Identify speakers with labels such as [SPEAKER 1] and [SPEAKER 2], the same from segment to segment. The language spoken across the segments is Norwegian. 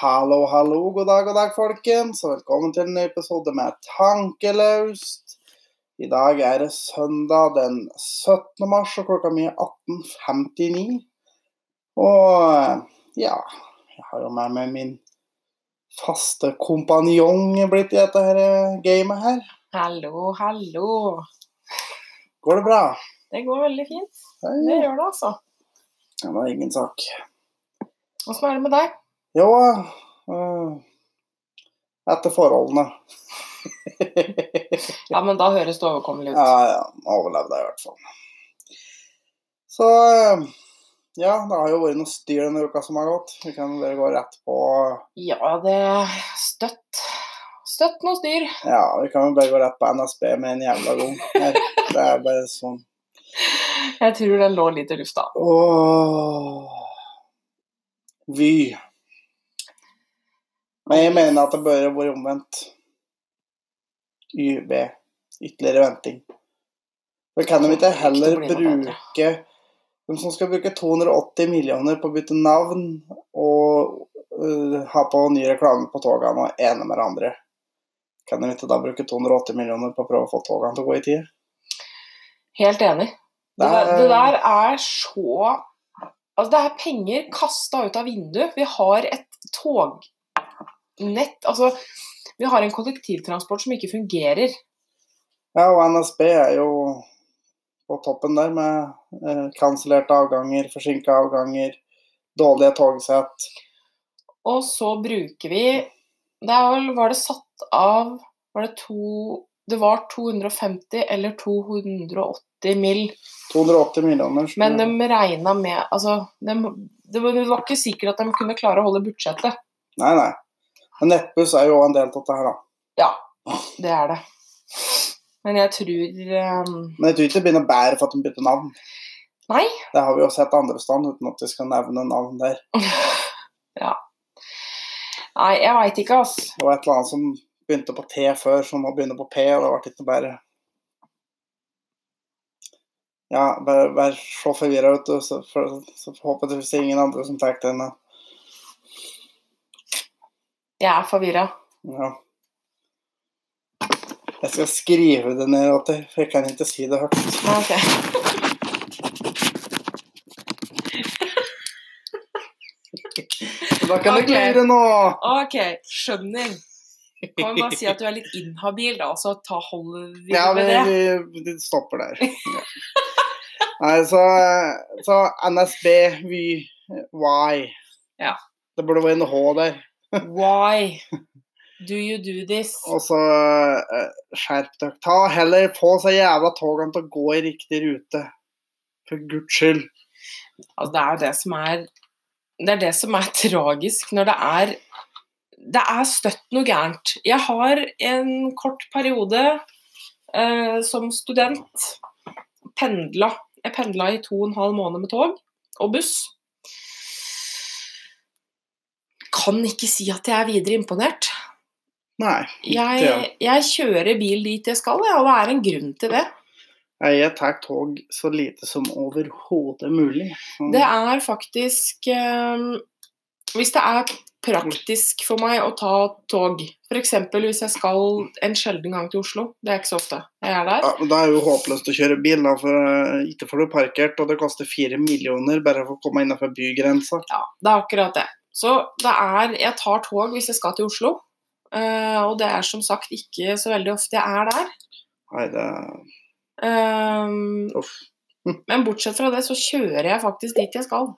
[SPEAKER 1] Hallo, hallo, god dag, god dag, folkens, og velkommen til en ny episode med Tankelaust. I dag er det søndag den 17. mars, og klokka mi er 18.59. Og eh, ja, jeg har jo med meg min faste kompanjong blitt i dette her eh, gamet her.
[SPEAKER 2] Hallo, hallo.
[SPEAKER 1] Går det bra?
[SPEAKER 2] Det går veldig fint.
[SPEAKER 1] Hei.
[SPEAKER 2] Det gjør det, altså.
[SPEAKER 1] Det var ingen sak.
[SPEAKER 2] Åssen er det med deg?
[SPEAKER 1] Jo, eh, etter forholdene.
[SPEAKER 2] Ja, men da høres det overkommelig ut.
[SPEAKER 1] Ja, ja. Overlevde jeg i hvert fall. Så eh, ja, det har jo vært noe styr denne uka som har gått. Vi kan bare gå rett på
[SPEAKER 2] Ja, det Støtt. Støtt noe styr.
[SPEAKER 1] Ja, vi kan jo bare gå rett på NSB med en jævla gang. Her, Det er bare sånn
[SPEAKER 2] Jeg tror den lå litt i lufta.
[SPEAKER 1] Åh. Vy. Men jeg mener at det bør være omvendt. YB. Ytterligere venting. For kan de ikke heller
[SPEAKER 2] Det blir noe bedre.
[SPEAKER 1] bruke De som skal bruke 280 millioner på å bytte navn og øh, ha på ny reklame på togene og ene med det andre, kan de ikke da bruke 280 millioner på å prøve å få togene til å gå i tide?
[SPEAKER 2] Helt enig. Det der, det der er så Altså, det er penger kasta ut av vinduet. Vi har et tognett Altså, vi har en kollektivtransport som ikke fungerer.
[SPEAKER 1] Ja, og NSB er jo på toppen der med eh, kansellerte avganger, forsinka avganger, dårlige togsett.
[SPEAKER 2] Og så bruker vi Det er vel, var det satt av Var det to Det var 250 eller 280 mill.
[SPEAKER 1] 280 millioner. som-
[SPEAKER 2] Men de regna med Altså, dem- det var det var ikke sikkert at de kunne klare å holde budsjettet.
[SPEAKER 1] Nei, nei. Men Nettbuss er jo en del av dette her, da.
[SPEAKER 2] Ja, det er det. Men jeg tror eh,
[SPEAKER 1] Men jeg tror ikke det blir noe bedre for at de bytter navn.
[SPEAKER 2] Nei.
[SPEAKER 1] Det har vi jo sett andre steder, uten at vi skal nevne navn der.
[SPEAKER 2] Nei, jeg veit ikke, altså.
[SPEAKER 1] Det var et eller annet som begynte på T før, som må begynne på P, og det ble ikke noe bedre. Ja, bare, bare så forvirra, vet du, så, for, så håper jeg det er ingen andre som tar den. da.
[SPEAKER 2] Jeg er forvirra.
[SPEAKER 1] Ja. Jeg skal skrive det ned, Atter, for jeg kan ikke si det høyt.
[SPEAKER 2] Nei, ok.
[SPEAKER 1] Da kan
[SPEAKER 2] Ok.
[SPEAKER 1] det glire nå!
[SPEAKER 2] Ok, skjønner. Kan vi bare si at du er litt inhabil, da, og så ta hold videre
[SPEAKER 1] Ja, vi,
[SPEAKER 2] med det?
[SPEAKER 1] vi, vi stopper der. Ja. Nei, så, så NSB, Vy, Why.
[SPEAKER 2] Ja.
[SPEAKER 1] Det burde vært en H der.
[SPEAKER 2] Why do you do this?
[SPEAKER 1] Og så eh, skjerp dere. Ta heller på seg jævla togene til å gå i riktig rute. For guds skyld.
[SPEAKER 2] Altså, det er jo det som er Det er det som er tragisk når det er Det er støtt noe gærent. Jeg har en kort periode eh, som student pendla. Jeg pendla i to og en halv måned med tog og buss. Kan ikke si at jeg er videre imponert.
[SPEAKER 1] Nei.
[SPEAKER 2] Jeg, jeg kjører bil dit jeg skal, ja, og det er en grunn til det.
[SPEAKER 1] Jeg tar tog så lite som overhodet mulig. Så-
[SPEAKER 2] Det er faktisk eh, Hvis det er praktisk for meg å ta tog, f.eks. hvis jeg skal en sjelden gang til Oslo, det er ikke så ofte jeg er der
[SPEAKER 1] Ja, men Da er det jo håpløst å kjøre bil, da, for eh, ikke får du parkert, og det koster fire millioner bare for å komme innenfor bygrensa.
[SPEAKER 2] Ja, det er akkurat det. Så det er Jeg tar tog hvis jeg skal til Oslo. eh, og det er som sagt ikke så veldig ofte jeg er der.
[SPEAKER 1] Nei, det
[SPEAKER 2] Eh,
[SPEAKER 1] Uff.
[SPEAKER 2] Men bortsett fra det, så kjører jeg faktisk dit jeg skal.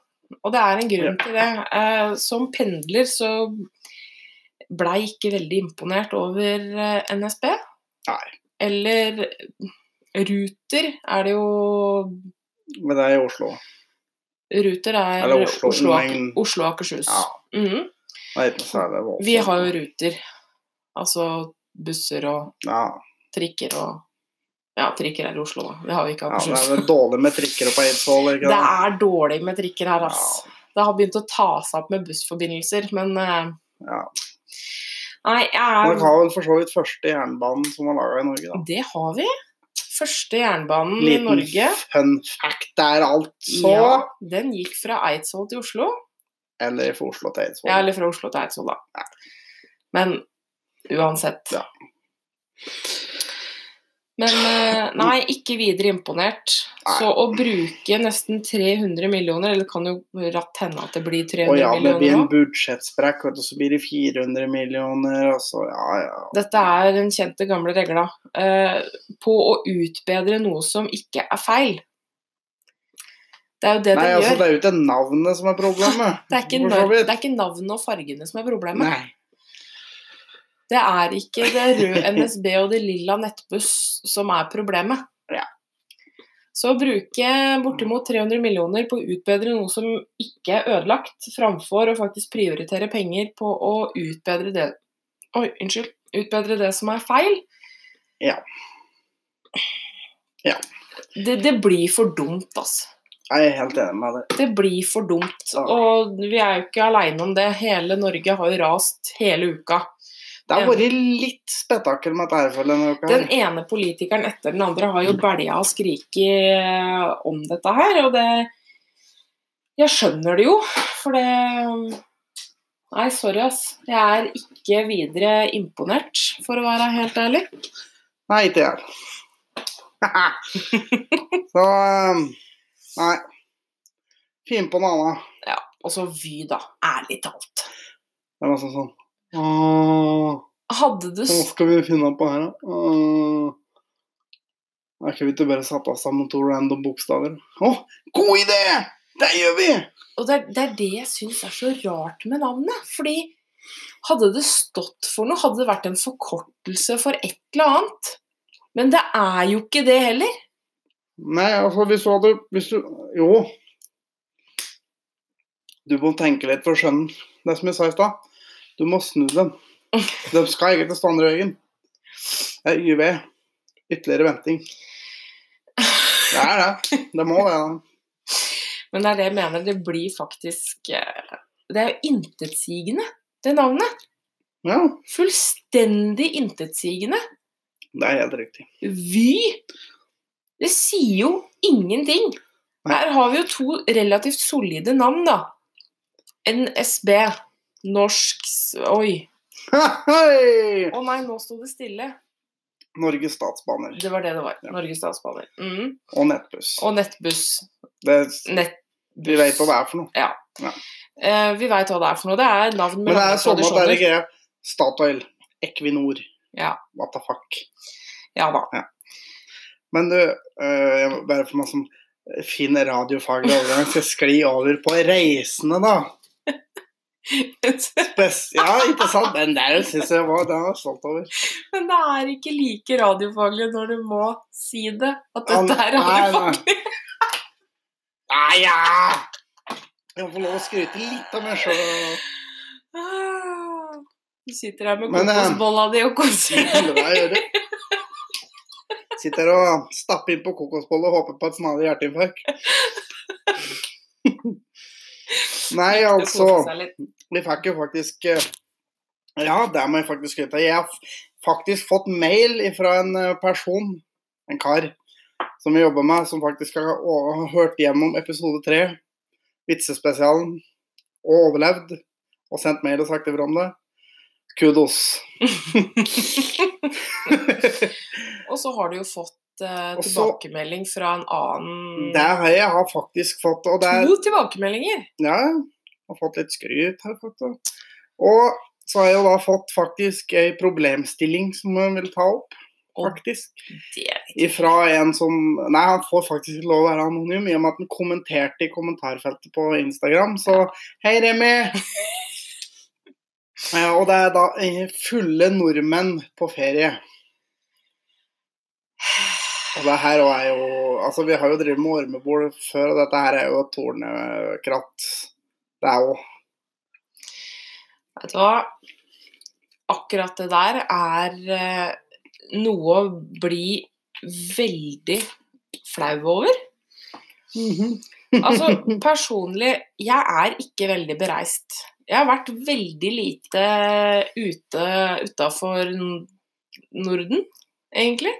[SPEAKER 2] Og det er en grunn til det. Eh, Som pendler så blei ikke veldig imponert over eh, NSB.
[SPEAKER 1] Nei.
[SPEAKER 2] Eller Ruter er det jo
[SPEAKER 1] Men det er i Oslo.
[SPEAKER 2] Ruter er
[SPEAKER 1] Eller Oslo,
[SPEAKER 2] Oslo, og Ak-
[SPEAKER 1] men-
[SPEAKER 2] Oslo og Akershus.
[SPEAKER 1] Ja.
[SPEAKER 2] Mhm.
[SPEAKER 1] Det er ikke noe særlig voldsomt.
[SPEAKER 2] Vi har jo Ruter. Altså busser og
[SPEAKER 1] Ja,
[SPEAKER 2] trikker og Ja, trikker er i Oslo, da. Vi har jo ikke
[SPEAKER 1] ja det
[SPEAKER 2] Akershus.
[SPEAKER 1] er vel dårlig med trikker oppe på Eidsvoll, ikke
[SPEAKER 2] det
[SPEAKER 1] det?
[SPEAKER 2] er dårlig med trikker her, ass. Det har begynt å ta seg opp med bussforbindelser, men eh,
[SPEAKER 1] Ja.
[SPEAKER 2] Nei, jeg
[SPEAKER 1] Man
[SPEAKER 2] er
[SPEAKER 1] har vel for så vidt første jernbanen som var laga i Norge, da.
[SPEAKER 2] Det har vi. Første jernbanen Mm, i
[SPEAKER 1] Liten
[SPEAKER 2] Norge.
[SPEAKER 1] fun fact der, altså.
[SPEAKER 2] Ja, den gikk fra Eidsvoll til Oslo.
[SPEAKER 1] Eller fra Oslo til Eidsvoll.
[SPEAKER 2] Ja, eller fra Oslo til Eidsvoll, da. Men uansett.
[SPEAKER 1] Ja.
[SPEAKER 2] Men eh, nei, ikke videre imponert.
[SPEAKER 1] Nei.
[SPEAKER 2] Så å bruke nesten 300 millioner, eller det kan jo ratt hende at det blir 300
[SPEAKER 1] Og ja, det blir
[SPEAKER 2] millioner
[SPEAKER 1] en
[SPEAKER 2] nå.
[SPEAKER 1] budsjettsprekk, vet du, så blir det 400 millioner, og så ja, ja.
[SPEAKER 2] Dette er den kjente gamle regla eh, på å utbedre noe som ikke er feil. Det er jo det
[SPEAKER 1] Nei,
[SPEAKER 2] det
[SPEAKER 1] altså,
[SPEAKER 2] gjør.
[SPEAKER 1] det er jo ikke navnet som er problemet.
[SPEAKER 2] Det er ikke,
[SPEAKER 1] for så
[SPEAKER 2] nav-
[SPEAKER 1] vidt.
[SPEAKER 2] det er ikke navnet og fargene som er problemet.
[SPEAKER 1] Nei.
[SPEAKER 2] Det er ikke det røde NSB og det lilla Nettbuss som er problemet.
[SPEAKER 1] Ja.
[SPEAKER 2] Så å bruke bortimot 300 millioner på å utbedre noe som ikke er ødelagt, framfor å faktisk prioritere penger på å utbedre det Oi, unnskyld. Utbedre det som er feil.
[SPEAKER 1] Ja. Ja.
[SPEAKER 2] Det, det blir for dumt, altså.
[SPEAKER 1] Jeg er helt enig med deg.
[SPEAKER 2] Det blir for dumt.
[SPEAKER 1] Ja.
[SPEAKER 2] Og vi er jo ikke aleine om det. Hele Norge har jo rast hele uka.
[SPEAKER 1] Det har
[SPEAKER 2] Ja.
[SPEAKER 1] vært litt spetakkel med dette her for denne uka.
[SPEAKER 2] Den ene politikeren etter den andre har jo belja og skriket om dette her, og det Jeg skjønner det jo, for det Nei, sorry, ass. Jeg er ikke videre imponert, for å være helt ærlig.
[SPEAKER 1] Nei, ikke jeg. så um, Nei. Fin på noe annet.
[SPEAKER 2] Og så Vy, da. Ærlig talt.
[SPEAKER 1] Det var sånn sånn Åh,
[SPEAKER 2] Hadde du
[SPEAKER 1] Hva
[SPEAKER 2] s-
[SPEAKER 1] skal vi finne på her, da? Åh. Er ikke vi ikke bare satt av sammen to random bokstaver? Å, god idé! Det gjør vi!
[SPEAKER 2] Og det er, det er det jeg syns er så rart med navnet. Fordi hadde det stått for noe, hadde det vært en forkortelse for et eller annet. Men det er jo ikke det heller.
[SPEAKER 1] Nei, altså, hvis du hadde Hvis du Jo. Du må tenke litt for å skjønne det som jeg sa i stad. Du må snu dem. De skal egentlig stå andre veien. Det er YV. Ytterligere venting. Det er det. Det må det. da.
[SPEAKER 2] Men det er det jeg mener, det blir faktisk eh, Det er jo intetsigende, det navnet.
[SPEAKER 1] Ja,
[SPEAKER 2] Fullstendig intetsigende.
[SPEAKER 1] det er helt riktig.
[SPEAKER 2] Vy. Det sier jo ingenting.
[SPEAKER 1] Nei.
[SPEAKER 2] Her har vi jo to relativt solide navn, da. NSB. Norsk s- Oi.
[SPEAKER 1] Hei!
[SPEAKER 2] Å nei, nå sto det stille.
[SPEAKER 1] Norges Statsbaner
[SPEAKER 2] Det var det det var.
[SPEAKER 1] Ja.
[SPEAKER 2] Norges Statsbaner. Mm.
[SPEAKER 1] og Nettbuss.
[SPEAKER 2] Og Nettbuss.
[SPEAKER 1] Det,
[SPEAKER 2] Nett...
[SPEAKER 1] vi vet hva det er for noe.
[SPEAKER 2] Eh, vi veit hva det er for noe. Det er navn
[SPEAKER 1] Men
[SPEAKER 2] med
[SPEAKER 1] det
[SPEAKER 2] lange
[SPEAKER 1] er sånn at det er
[SPEAKER 2] tradisjoner.
[SPEAKER 1] greia. Statoil, Equinor,
[SPEAKER 2] Ja.
[SPEAKER 1] what the fuck.
[SPEAKER 2] Ja da.
[SPEAKER 1] Men du, øh, jeg må bare for meg som fin radiofaglig overgang skal jeg skli over på reisende, da. Spes ja, ikke sant? Den der syns jeg var, den var jeg stolt over.
[SPEAKER 2] Men det er ikke like radiofaglig når du må si det. At
[SPEAKER 1] Ja,
[SPEAKER 2] dette
[SPEAKER 1] nei,
[SPEAKER 2] er
[SPEAKER 1] nei.
[SPEAKER 2] radiofaglig.
[SPEAKER 1] Ah, ja! Jeg må få lov å skryte litt av meg sjøl.
[SPEAKER 2] Ah, Du sitter her med
[SPEAKER 1] Men, eh,
[SPEAKER 2] kokosbolla di og koser deg.
[SPEAKER 1] Sitter og stapper inn på kokosbolle og håper på et snarlig hjerteinfarkt. Nei,
[SPEAKER 2] Du
[SPEAKER 1] altså.
[SPEAKER 2] koser seg litt.
[SPEAKER 1] Vi fikk jo faktisk eh, Ja, det må jeg faktisk skryte av. Jeg har f- faktisk fått mail fra en eh, person, en kar, som jeg jobber med, som faktisk har å- har hørt gjennom episode tre, vitsespesialen, og overlevd. Og sendt mail og sagt ifra om det. Kudos.
[SPEAKER 2] Og så har du jo fått eh,
[SPEAKER 1] Og så-
[SPEAKER 2] tilbakemelding fra en annen
[SPEAKER 1] Det har jeg har faktisk fått, og det er
[SPEAKER 2] To tilbakemeldinger!
[SPEAKER 1] Ja, jeg har fått litt skryt her. vet du. Og så har jeg jo da fått faktisk ei problemstilling som jeg vil ta opp,
[SPEAKER 2] Og-
[SPEAKER 1] faktisk.
[SPEAKER 2] Det er
[SPEAKER 1] Ifra en som Nei, han får faktisk ikke lov å være anonym, i og med at han kommenterte i kommentarfeltet på Instagram. Så hei, Remi! Eh, Og det er da eh, fulle nordmenn på ferie. Og det her også er jo Altså, vi har jo drevet med ormebol før, og dette her er jo et tornekratt. Det er jo
[SPEAKER 2] Vet du hva? Akkurat det der er eh, noe å bli veldig flau over. Altså, personlig, jeg er ikke veldig bereist. Jeg har vært veldig lite ute utafor Norden, egentlig.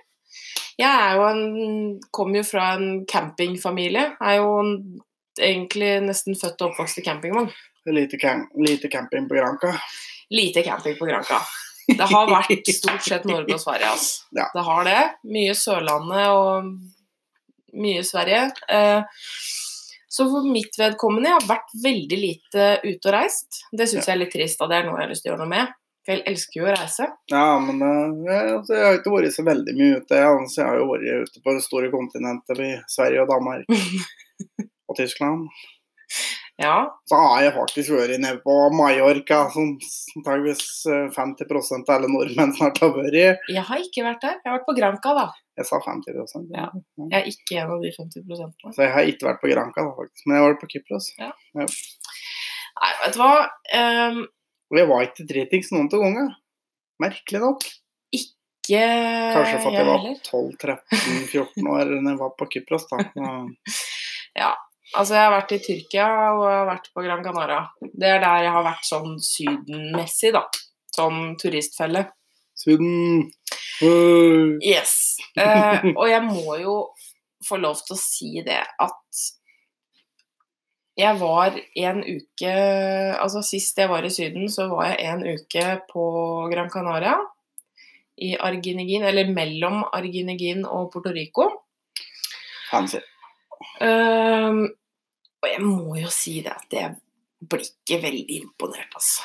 [SPEAKER 2] Jeg er jo en Kommer jo fra en campingfamilie. Er jo en, egentlig nesten født og oppvokst i campingvogn.
[SPEAKER 1] Lite, cam lite camping på Granca.
[SPEAKER 2] Lite camping på Granca. Det har vært stort sett Norge og Sverige, altså.
[SPEAKER 1] Ja.
[SPEAKER 2] Det har det. Mye Sørlandet og mye Sverige. Eh, Så for mitt vedkommende, jeg har vært veldig lite ute og reist. Det syns jeg er litt trist, og det er noe jeg har lyst til å gjøre noe med. For jeg elsker jo å reise.
[SPEAKER 1] Ja, men eh, jeg, altså, jeg har ikke vært så veldig mye ute. Jeg, altså, jeg har jo vært ute på det store kontinentet i Sverige og Danmark og Tyskland.
[SPEAKER 2] Ja,
[SPEAKER 1] Så har jeg faktisk vært nede på Mallorca, som antakeligvis 50 av alle nordmenn snart har vært i.
[SPEAKER 2] jeg har ikke vært der. Jeg har vært på Granca, da.
[SPEAKER 1] Jeg sa 50
[SPEAKER 2] Ja. Jeg er ikke en av de 50 prosentene.
[SPEAKER 1] Så jeg har ikke vært på Granca, da, faktisk. Men jeg var på Kypros.
[SPEAKER 2] Nei, vet du hva. Eh,
[SPEAKER 1] Og jeg var ikke dritings noen til gangen. Merkelig nok.
[SPEAKER 2] Ikke
[SPEAKER 1] Kanskje for at jeg var
[SPEAKER 2] Eh, heller.
[SPEAKER 1] 12-13-14 år da jeg var på Kypros, da. Men
[SPEAKER 2] Altså, jeg har vært i Tyrkia og jeg har vært på Gran Canaria. Det er der jeg har vært sånn sydenmessig, da. Som turistfelle.
[SPEAKER 1] Syden mm. øh,
[SPEAKER 2] Yes. Eh, og jeg må jo få lov til å si det at jeg var en uke Altså sist jeg var i Syden, så var jeg en uke på Gran Canaria. I Arginegin, eller mellom Arginegin og Puerto Rico.
[SPEAKER 1] Fancy.
[SPEAKER 2] Ehm, og jeg må jo si det at jeg blir ikke veldig imponert, altså.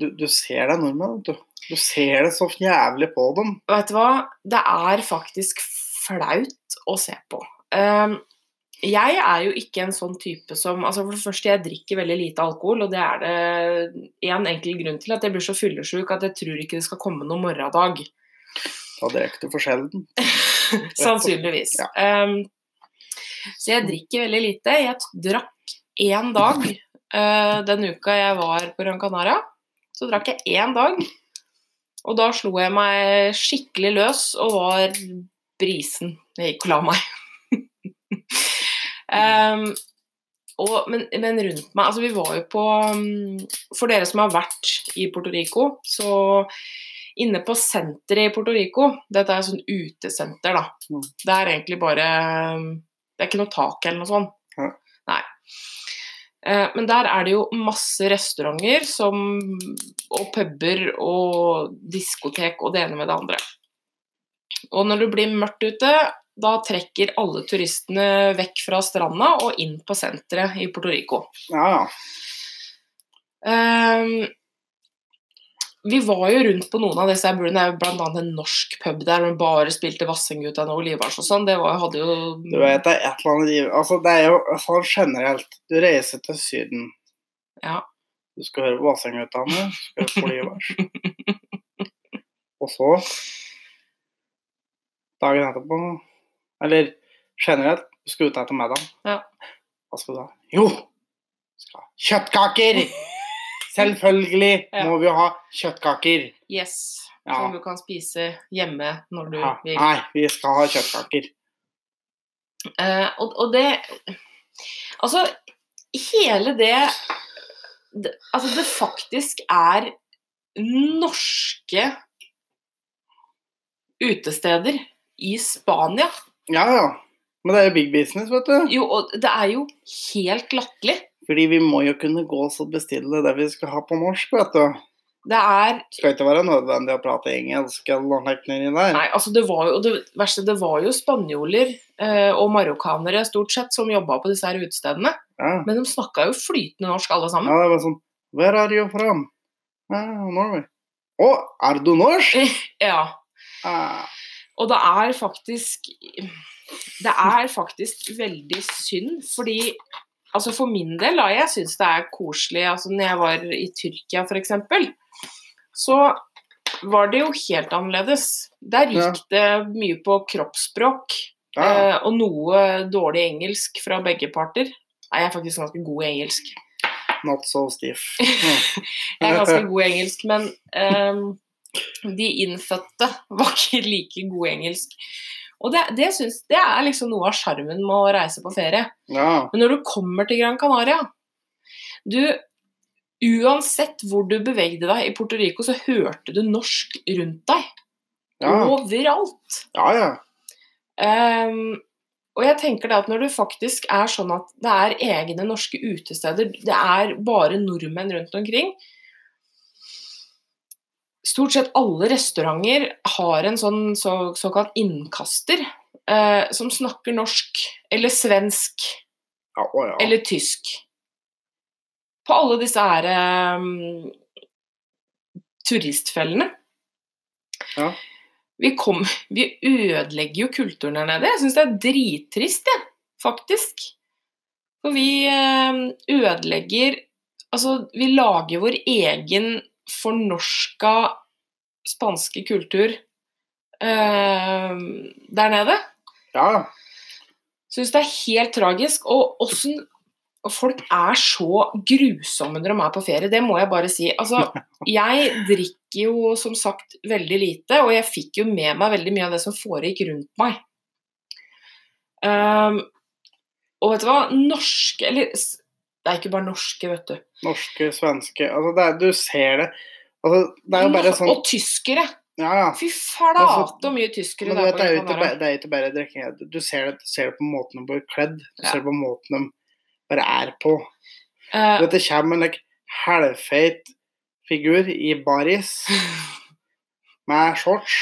[SPEAKER 1] Du, du ser det nordmenn, vet du. Du ser det så jævlig på dem.
[SPEAKER 2] Vet du hva? Det er faktisk flaut å se på. Ehm, jeg er jo ikke en sånn type som altså For det første, jeg drikker veldig lite alkohol, og det er det én enkel grunn til, at jeg blir så fyllesyk at jeg tror ikke det skal komme noen morgendag.
[SPEAKER 1] Da drikker du for sjelden.
[SPEAKER 2] Sannsynligvis. Ehm, så jeg drikker veldig lite. Jeg t- drakk én dag eh, den uka jeg var på Gran Canaria. Så drakk jeg én dag, og da slo jeg meg skikkelig løs og var brisen. Jeg gikk og la meg. Ehm, og, men, men rundt meg Altså, vi var jo på mm, For dere som har vært i Puerto Rico, så Inne på senteret i Puerto Rico, dette er sånn utesenter, da.
[SPEAKER 1] Mm.
[SPEAKER 2] Det er egentlig bare mm, Det er ikke noe tak eller noe sånt.
[SPEAKER 1] Ja.
[SPEAKER 2] Nei. Eh, Men der er det jo masse restauranter som, og puber og diskotek og det ene med det andre. Og når det blir mørkt ute, da trekker alle turistene vekk fra stranda og inn på senteret i Puerto Rico.
[SPEAKER 1] Ja, ja.
[SPEAKER 2] Ehm, vi var jo rundt på noen av disse her bordene. Det er jo blant annet en norsk pub der hvor de bare spilte Vassendgutane og Olivars og sånn. Det var, hadde jo
[SPEAKER 1] Du vet det er et eller annet liv Altså, det er jo sånn generelt. Du reiser til Syden.
[SPEAKER 2] Ja.
[SPEAKER 1] Du skal høre på Vassendgutane, du skal høre på Olivers. Og så Dagen etterpå Eller generelt, du skal ut etter middag.
[SPEAKER 2] Ja.
[SPEAKER 1] Hva skal du ha? Jo! du Skal ha kjøttkaker! Selvfølgelig
[SPEAKER 2] Ja.
[SPEAKER 1] må vi jo ha kjøttkaker.
[SPEAKER 2] Yes.
[SPEAKER 1] Ja.
[SPEAKER 2] Som du kan spise hjemme når du
[SPEAKER 1] Ja.
[SPEAKER 2] vil.
[SPEAKER 1] Nei, vi skal ha kjøttkaker.
[SPEAKER 2] Eh, og, og det Altså, hele det, det Altså, det faktisk er norske utesteder i Spania.
[SPEAKER 1] Ja ja. Men det er jo big business, vet du.
[SPEAKER 2] Jo, og det er jo helt latterlig.
[SPEAKER 1] Fordi vi må jo kunne gå oss og bestille det vi skal ha på norsk, vet du.
[SPEAKER 2] Det er
[SPEAKER 1] Det skal ikke være nødvendig å prate engelsk eller noe nedi der.
[SPEAKER 2] Nei, altså det var jo og det verste, det var jo spanjoler eh, og marokkanere stort sett som jobba på disse her utestedene.
[SPEAKER 1] Ja.
[SPEAKER 2] Men de snakka jo flytende norsk alle
[SPEAKER 1] ja,
[SPEAKER 2] sammen.
[SPEAKER 1] det var sånn Where are you from? Ah, Norway. Å, er du norsk?
[SPEAKER 2] Ja.
[SPEAKER 1] Ah,
[SPEAKER 2] Og det er faktisk Det er faktisk veldig synd, fordi altså for min del, da, jeg syns det er koselig altså Når jeg var i Tyrkia f.eks., så var det jo helt annerledes. Der
[SPEAKER 1] Ja.
[SPEAKER 2] gikk det mye på kroppsspråk
[SPEAKER 1] ja.
[SPEAKER 2] eh, og noe dårlig engelsk fra begge parter. Nei, jeg er faktisk ganske god i engelsk.
[SPEAKER 1] Not so stiff. Hm,
[SPEAKER 2] Jeg er ganske god i engelsk, men ehm, de innfødte var ikke like god i engelsk. Og det, det, syns- det er liksom noe av sjarmen med å reise på ferie.
[SPEAKER 1] Ja.
[SPEAKER 2] Men når du kommer til Gran Canaria du, Uansett hvor du bevegde deg i Puerto Rico, så hørte du norsk rundt deg.
[SPEAKER 1] Ja.
[SPEAKER 2] Overalt.
[SPEAKER 1] ja, ja.
[SPEAKER 2] Ehm, Og jeg tenker det at når det faktisk er sånn at det er egne norske utesteder, det er bare nordmenn rundt omkring Stort sett alle restauranter har en sånn så, såkalt innkaster eh, som snakker norsk eller svensk
[SPEAKER 1] Ja, å ja.
[SPEAKER 2] eller tysk. På alle disse her eh, turistfellene.
[SPEAKER 1] Ja.
[SPEAKER 2] Vi, kom, vi ødelegger jo kulturen her nede. Jeg syns det er drittrist, jeg, faktisk. For vi eh, ødelegger Altså, vi lager vår egen fornorska spanske kultur eh, der nede
[SPEAKER 1] ja, ja.
[SPEAKER 2] syns det er helt tragisk. Og åssen folk er så grusomme når de er på ferie, det må jeg bare si. Altså, jeg drikker jo som sagt veldig lite, og jeg fikk jo med meg veldig mye av det som foregikk rundt meg. Ehm, og vet du hva, norske Eller s- det er ikke bare norske, vet du.
[SPEAKER 1] Norske, svenske Altså, det er, du ser det. Altså, det er jo bare sånn
[SPEAKER 2] Og tyskere.
[SPEAKER 1] Ja, ja. altså,
[SPEAKER 2] Fy flate hvor mye tyskere
[SPEAKER 1] Men du vet, det er jo
[SPEAKER 2] på
[SPEAKER 1] ikke
[SPEAKER 2] Kanarene.
[SPEAKER 1] bare, det er jo ikke bare drikking. Du- Du ser det, du ser det på måten de blir kledd. Du
[SPEAKER 2] Ja.
[SPEAKER 1] ser det på måten de bare er på.
[SPEAKER 2] Eh,
[SPEAKER 1] Du vet, det kommer en like, halvfeit figur i baris med shorts,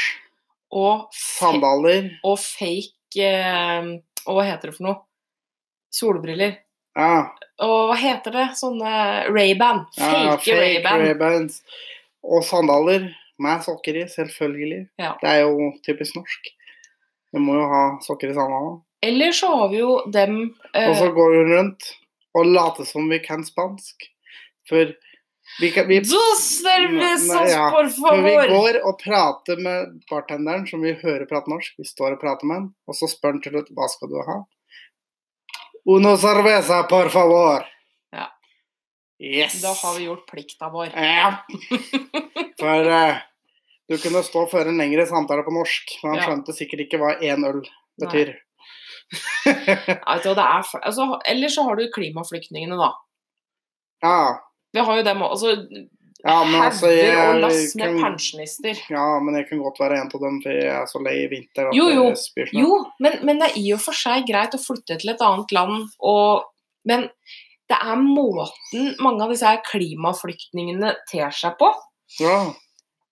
[SPEAKER 2] og fe-
[SPEAKER 1] sandaler
[SPEAKER 2] og fake eh, Og hva heter det for noe? Solbriller.
[SPEAKER 1] Ja,
[SPEAKER 2] Og hva heter det? Sånne Ray-Ban.
[SPEAKER 1] ja,
[SPEAKER 2] Fake,
[SPEAKER 1] ja,
[SPEAKER 2] Ray-Ban.
[SPEAKER 1] Ray-Bans. og sandaler med sokker i, selvfølgelig.
[SPEAKER 2] Ja.
[SPEAKER 1] Det er jo typisk norsk. Du må jo ha sokker i sandalene.
[SPEAKER 2] Eller så har vi jo dem eh,
[SPEAKER 1] Og så går hun rundt og later som vi kan spansk. For vi, kan, vi
[SPEAKER 2] Dos
[SPEAKER 1] Nei,
[SPEAKER 2] cervezas,
[SPEAKER 1] ja.
[SPEAKER 2] por
[SPEAKER 1] Men vi
[SPEAKER 2] favor!
[SPEAKER 1] går og prater med bartenderen, som vi hører prate norsk. Vi står og prater med han, og så spør han til slutt hva skal du ha. Uno cerveza, por favor.
[SPEAKER 2] Ja.
[SPEAKER 1] Yes.
[SPEAKER 2] Da har vi gjort plikta vår.
[SPEAKER 1] Ja. For eh, du kunne stå og føre en lengre samtale på norsk, men han
[SPEAKER 2] Ja.
[SPEAKER 1] skjønte sikkert ikke hva én øl betyr.
[SPEAKER 2] Altså, det er, fl- altså, eller så har du klimaflyktningene, da.
[SPEAKER 1] Ja.
[SPEAKER 2] Vi har jo dem òg. Altså,
[SPEAKER 1] ja, men altså jeg,
[SPEAKER 2] Hauger og lass med
[SPEAKER 1] kan,
[SPEAKER 2] pensjonister.
[SPEAKER 1] ja, men jeg kan godt være en av dem, for jeg er så lei i vinter at
[SPEAKER 2] Jo, jo.
[SPEAKER 1] jeg spyr snart.
[SPEAKER 2] Jo, men, men det er i og for seg greit å flytte til et annet land, og, men det er måten mange av disse her klimaflyktningene ter seg på.
[SPEAKER 1] Ja.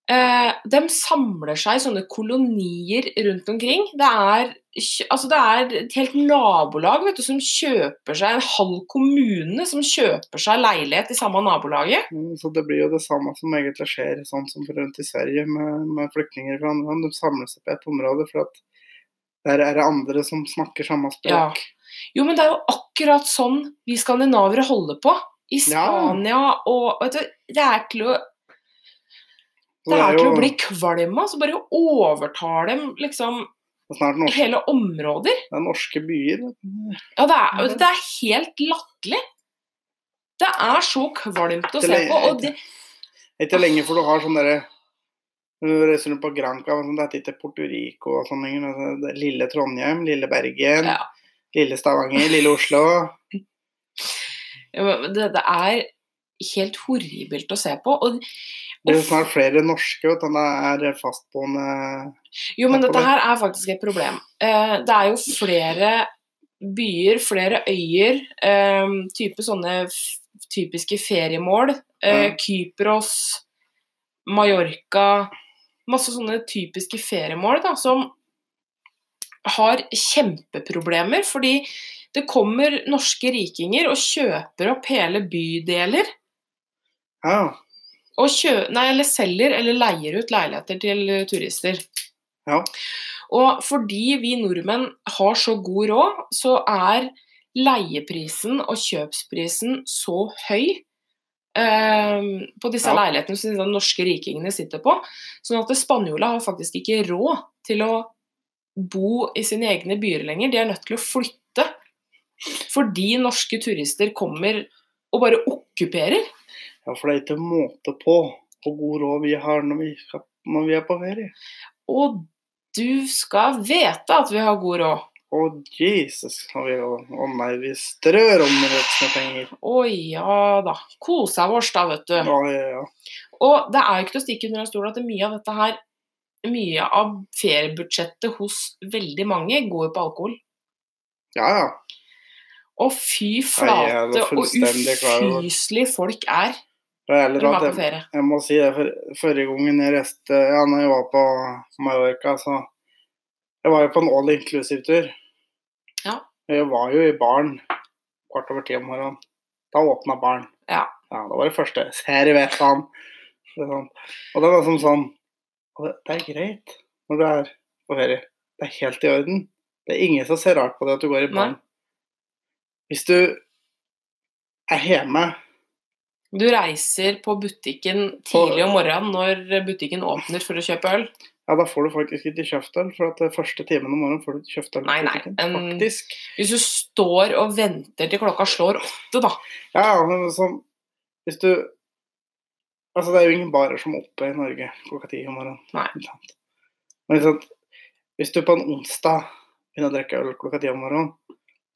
[SPEAKER 2] Eh, de samler seg i sånne kolonier rundt omkring. Det er, kj- altså det er et helt nabolag vet du, som kjøper seg en halv kommune som kjøper seg leilighet i samme nabolaget.
[SPEAKER 1] Mm, Så det blir jo det samme som egentlig skjer sånn som rundt i Sverige med, med flyktninger fra andre land. De samles opp i et område for at der er det andre som snakker samme
[SPEAKER 2] Ja.
[SPEAKER 1] språk.
[SPEAKER 2] Jo, men det er jo akkurat sånn vi skandinavere holder på. I
[SPEAKER 1] Ja.
[SPEAKER 2] Spania og vet du, Det er til å
[SPEAKER 1] Så
[SPEAKER 2] Det er
[SPEAKER 1] jo
[SPEAKER 2] til å bli kvalm av, så bare overtar dem liksom
[SPEAKER 1] det er snart norske,
[SPEAKER 2] hele områder.
[SPEAKER 1] det er norske byer.
[SPEAKER 2] Ja, det er, det er helt latterlig. Det er så kvalmt å se på. Og det,
[SPEAKER 1] Ikke lenge for du har sånn derre Når du reiser rundt på Granca, men sånn, det er ikke Porto Rico og sånn lenger. men det- det er Lille Trondheim, lille Bergen,
[SPEAKER 2] Ja.
[SPEAKER 1] lille Stavanger, lille Oslo.
[SPEAKER 2] Ja, men det, det er helt horribelt å se på. Og,
[SPEAKER 1] Det blir snart flere norske, vet du. Det er fastboende
[SPEAKER 2] jo, men
[SPEAKER 1] Takk for
[SPEAKER 2] dette
[SPEAKER 1] det.
[SPEAKER 2] her er faktisk et problem. Eh, det er jo flere byer, flere øyer, eh, type sånne f- typiske feriemål. Eh,
[SPEAKER 1] Ja.
[SPEAKER 2] Kypros, Mallorca Masse sånne typiske feriemål da, som har kjempeproblemer, fordi det kommer norske rikinger og kjøper opp hele bydeler.
[SPEAKER 1] Ja.
[SPEAKER 2] og kjø nei, eller selger eller leier ut leiligheter til eh, turister.
[SPEAKER 1] Ja.
[SPEAKER 2] Og fordi vi nordmenn har så god råd, så er leieprisen og kjøpsprisen så høy eh, på disse
[SPEAKER 1] Ja.
[SPEAKER 2] leilighetene som de norske rikingene sitter på, sånn at spanjola har faktisk ikke råd til å bo i sine egne byer lenger. De er nødt til å flytte fordi norske turister kommer og bare okkuperer.
[SPEAKER 1] Ja, for det er ikke måte på hvor god råd vi har når vi, skal, når vi er på ferie.
[SPEAKER 2] Og du skal vite at vi har god råd.
[SPEAKER 1] Å, Jesus. Å vi, å, å nei, vi strør om rett med penger.
[SPEAKER 2] Å ja da. Kosa vårs, da, vet du.
[SPEAKER 1] Ja, ja, ja.
[SPEAKER 2] Og det er jo ikke til å stikke under en stol at mye av dette her Mye av feriebudsjettet hos veldig mange går jo på alkohol.
[SPEAKER 1] Ja, ja.
[SPEAKER 2] Og fy
[SPEAKER 1] jeg er
[SPEAKER 2] flate
[SPEAKER 1] da
[SPEAKER 2] og
[SPEAKER 1] fullstendig klar over det.
[SPEAKER 2] ufyselige folk er
[SPEAKER 1] Det er heller
[SPEAKER 2] når de
[SPEAKER 1] at
[SPEAKER 2] er på
[SPEAKER 1] jeg,
[SPEAKER 2] ferie.
[SPEAKER 1] jeg må si det, for forrige gangen jeg reiste Ja, når jeg var på Mallorca, så Jeg var jo på en all inclusive-tur.
[SPEAKER 2] Ja.
[SPEAKER 1] Jeg var jo i baren kvart over ti om morgenen. Da åpna baren.
[SPEAKER 2] Ja.
[SPEAKER 1] ja. Det var det første. Servetan. Det er sånn. Og det var som sånn og det, det er greit når du er på ferie. Det er helt i orden. Det er ingen som ser rart på det at du går i baren.
[SPEAKER 2] Nei.
[SPEAKER 1] Hvis du er hjemme
[SPEAKER 2] Du reiser på butikken tidlig om morgenen når butikken åpner for å kjøpe øl.
[SPEAKER 1] Ja, da får du faktisk ikke kjøpt øl, for at det første timen om morgenen får du ikke kjøpt øl. på
[SPEAKER 2] Nei, nei,
[SPEAKER 1] butikken.
[SPEAKER 2] en-
[SPEAKER 1] Faktisk.
[SPEAKER 2] Hvis du står og venter til klokka slår åtte, da.
[SPEAKER 1] Ja, ja, men sånn Hvis du Altså, det er jo ingen barer som er oppe i Norge klokka ti om morgenen.
[SPEAKER 2] Nei.
[SPEAKER 1] Ikke sant? Men ikke sant? hvis du på en onsdag begynner å drikke øl klokka ti om morgenen,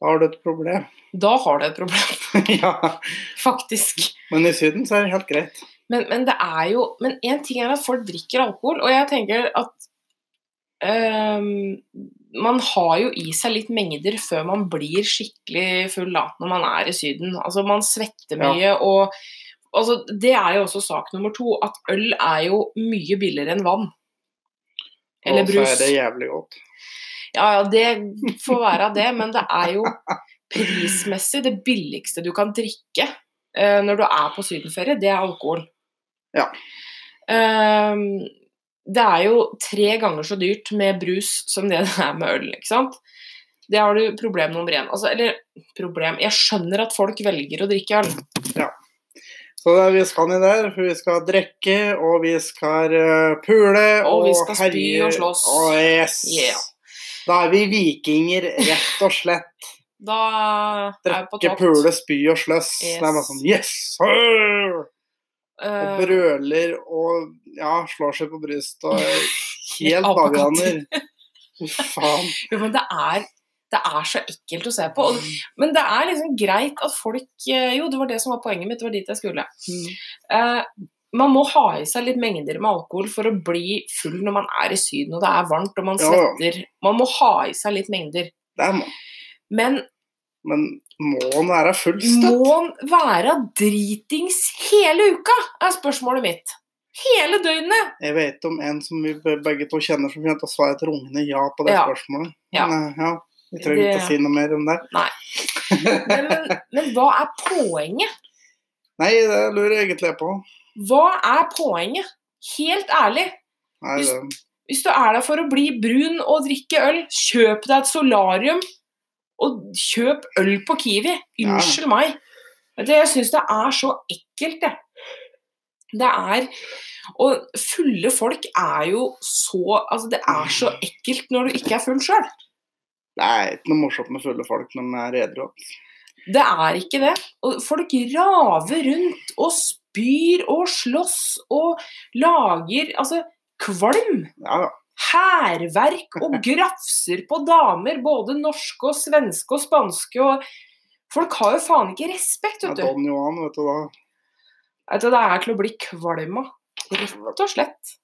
[SPEAKER 1] da har du et problem.
[SPEAKER 2] Da har du et problem,
[SPEAKER 1] ja.
[SPEAKER 2] faktisk.
[SPEAKER 1] Men i Syden så er det helt greit.
[SPEAKER 2] Men, men det er jo Men én ting er at folk drikker alkohol, og jeg tenker at øhm, man har jo i seg litt mengder før man blir skikkelig full da, når man er i Syden. Altså, man svetter
[SPEAKER 1] Ja.
[SPEAKER 2] mye, og altså, det er jo også sak nummer to, at øl er jo mye billigere enn vann. Eller
[SPEAKER 1] Og så
[SPEAKER 2] brus.
[SPEAKER 1] er det jævlig godt.
[SPEAKER 2] Ja ja, det får være det, men det er jo prismessig det billigste du kan drikke eh, når du er på sydenferie, det er alkohol.
[SPEAKER 1] Ja.
[SPEAKER 2] Ehm, det er jo tre ganger så dyrt med brus som det det er med øl, ikke sant. Det har du problem nummer én. Altså, eller problem Jeg skjønner at folk velger å drikke øl.
[SPEAKER 1] Så det er, vi skal ned der, for vi skal drikke, og vi skal eh, pule,
[SPEAKER 2] Og vi skal spy
[SPEAKER 1] herje-
[SPEAKER 2] og slåss.
[SPEAKER 1] og yes.
[SPEAKER 2] Yeah.
[SPEAKER 1] Da er vi vikinger, rett og slett.
[SPEAKER 2] Da er vi på
[SPEAKER 1] Drikke, pule, spy og sløss.
[SPEAKER 2] Yes.
[SPEAKER 1] Det er bare sånn Yes! sir!» Og
[SPEAKER 2] Eh,
[SPEAKER 1] brøler og ja, slår seg på brystet og er helt
[SPEAKER 2] Apekatt.
[SPEAKER 1] bavianer. Fy faen.
[SPEAKER 2] jo, men det er, det er så ekkelt å se på. Og Men det er liksom greit at folk eh, Jo, det var det som var poenget mitt, det var dit jeg skulle.
[SPEAKER 1] Mm.
[SPEAKER 2] Eh, man må ha i seg litt mengder med alkohol for å bli full når man er i Syden og det er varmt og man
[SPEAKER 1] Ja, ja.
[SPEAKER 2] svetter. Man må ha i seg litt mengder.
[SPEAKER 1] Det er må-
[SPEAKER 2] Men
[SPEAKER 1] Men må han være full støtt?
[SPEAKER 2] må man være dritings hele uka, er spørsmålet mitt. Hele døgnet!
[SPEAKER 1] Jeg vet om en som vi be- begge to kjenner som kommer til å svare et rungende ja på det
[SPEAKER 2] Ja.
[SPEAKER 1] spørsmålet.
[SPEAKER 2] Ja.
[SPEAKER 1] Men, eh, ja. Vi trenger
[SPEAKER 2] Det-
[SPEAKER 1] ikke å si noe mer om det.
[SPEAKER 2] Men, men, men hva er poenget?
[SPEAKER 1] Nei, det lurer jeg egentlig på.
[SPEAKER 2] Hva er poenget? Helt ærlig.
[SPEAKER 1] Nei,
[SPEAKER 2] Hvis-
[SPEAKER 1] det-
[SPEAKER 2] Hvis du er der for å bli brun og drikke øl, kjøp deg et solarium. Og kjøp øl på Kiwi.
[SPEAKER 1] Ja.
[SPEAKER 2] Unnskyld meg. Vet du, jeg syns det er så ekkelt, jeg. Det er Og fulle folk er jo så Altså, det er så ekkelt når du ikke er full sjøl.
[SPEAKER 1] det er ikke noe morsomt med fulle folk når de er edru.
[SPEAKER 2] Det er ikke det. Og folk raver rundt og spyr og slåss og lager Altså, kvalm!
[SPEAKER 1] Ja, ja.
[SPEAKER 2] hærverk og grafser på damer, både norske og svenske og spanske. og Folk har jo faen ikke respekt,
[SPEAKER 1] Ja,
[SPEAKER 2] vet du.
[SPEAKER 1] Don Johan, vet du da.
[SPEAKER 2] Vet du, Det er til å bli kvalm av. Rett og slett.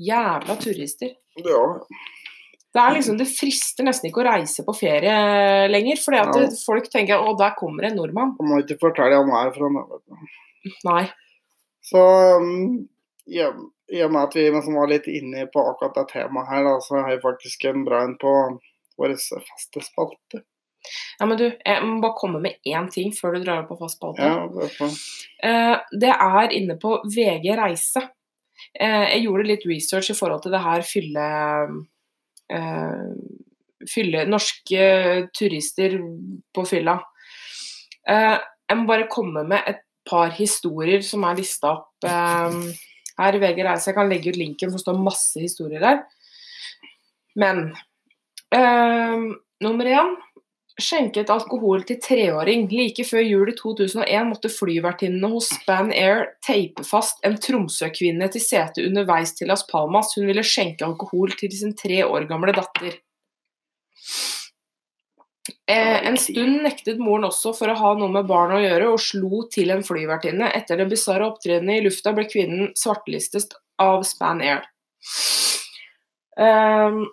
[SPEAKER 2] Jævla turister.
[SPEAKER 1] Ja,
[SPEAKER 2] Det er liksom, det frister nesten ikke å reise på ferie lenger, fordi at
[SPEAKER 1] Ja.
[SPEAKER 2] det- folk tenker 'å, der kommer en nordmann'.
[SPEAKER 1] Han må ikke fortelle han er fra nå, vet du.
[SPEAKER 2] Nei.
[SPEAKER 1] Så um, i og i og med at vi liksom var litt inne på akkurat det temaet her, da, så har jeg faktisk en bra en på vår faste spalte.
[SPEAKER 2] Ja, men du, jeg må bare komme med én ting før du drar opp på fast spalte.
[SPEAKER 1] Ja, det er sånn.
[SPEAKER 2] Eh, Det er inne på VG Reise. Eh, Jeg gjorde litt research i forhold til det her fylle eh, Fylle norske turister på fylla. Eh, Jeg må bare komme med et par historier som er lista opp eh, her i VG Reise. Jeg kan legge ut linken, for det står masse historier der. Men eh, nummer én skjenket alkohol til treåring. Like før jul i 2001 måtte flyvertinnene hos Span Air teipe fast en Tromsø-kvinne til setet underveis til Las Palmas. Hun ville skjenke alkohol til sin tre år gamle datter. Eh, en stund nektet moren også for å ha noe med barnet å gjøre, og slo til en flyvertinne. Etter den bisarre opptredenen i lufta ble kvinnen svartelistet av Span Air. Ehm,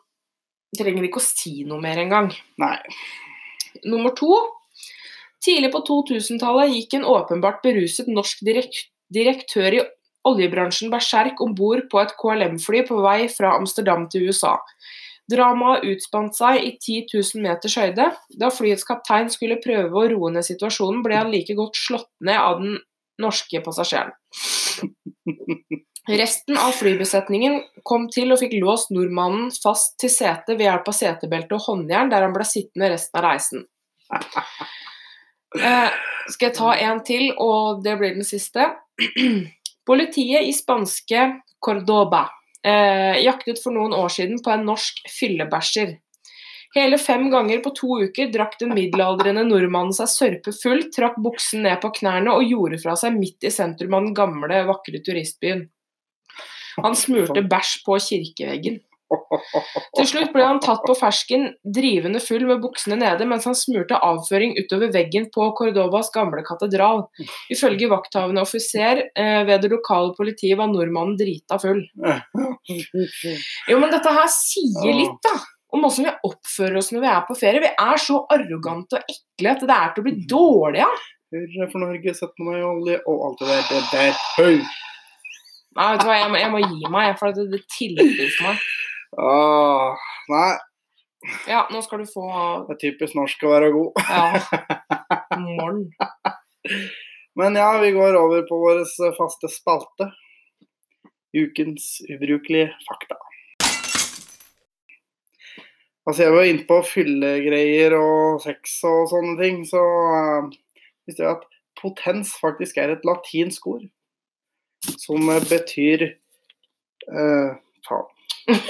[SPEAKER 2] Eh, trenger ikke å si noe mer engang.
[SPEAKER 1] Nei.
[SPEAKER 2] Nummer to. Tidlig på 2000-tallet gikk en åpenbart beruset norsk direk- direktør i oljebransjen berserk om bord på et KLM-fly på vei fra Amsterdam til USA. Dramaet utspant seg i 10 000 meters høyde. Da flyets kaptein skulle prøve å roe ned situasjonen, ble han like godt slått ned av den norske passasjeren. Resten av flybesetningen kom til og fikk låst nordmannen fast til setet ved hjelp av setebelte og håndjern, der han ble sittende resten av reisen. Eh, skal jeg ta en til, og det blir den siste. Politiet i spanske Cordoba eh, jaktet for noen år siden på en norsk fyllebæsjer. Hele fem ganger på to uker drakk den middelaldrende nordmannen seg sørpe full, trakk buksen ned på knærne og gjorde fra seg midt i sentrum av den gamle, vakre turistbyen. Han smurte bæsj på kirkeveggen. Til slutt ble han tatt på fersken, drivende full med buksene nede, mens han smurte avføring utover veggen på Cordobas gamle katedral. Ifølge vakthavende offiser eh, ved det lokale politiet var nordmannen drita full. Jo, men dette her sier
[SPEAKER 1] Ja.
[SPEAKER 2] litt, da. Om åssen vi oppfører oss når vi er på ferie. Vi er så arrogante og ekle at det er til å bli dårlig av.
[SPEAKER 1] Hurra for Norge, sett på meg i olje og alt det der. Det der. Høy.
[SPEAKER 2] Nei, vet du hva, jeg må, jeg må gi meg, jeg, for det, det tilbyr meg.
[SPEAKER 1] Åh, Ah, nei,
[SPEAKER 2] Ja, nå skal du få
[SPEAKER 1] det er typisk norsk å være god.
[SPEAKER 2] Ja. Morn.
[SPEAKER 1] Men ja, vi går over på vår eh, faste spalte. Ukens ubrukelige fakta. Altså, jeg var inne på fyllegreier og sex og sånne ting, så eh, visste jeg at potens faktisk er et latinsk ord. Som eh, betyr eh, Faen.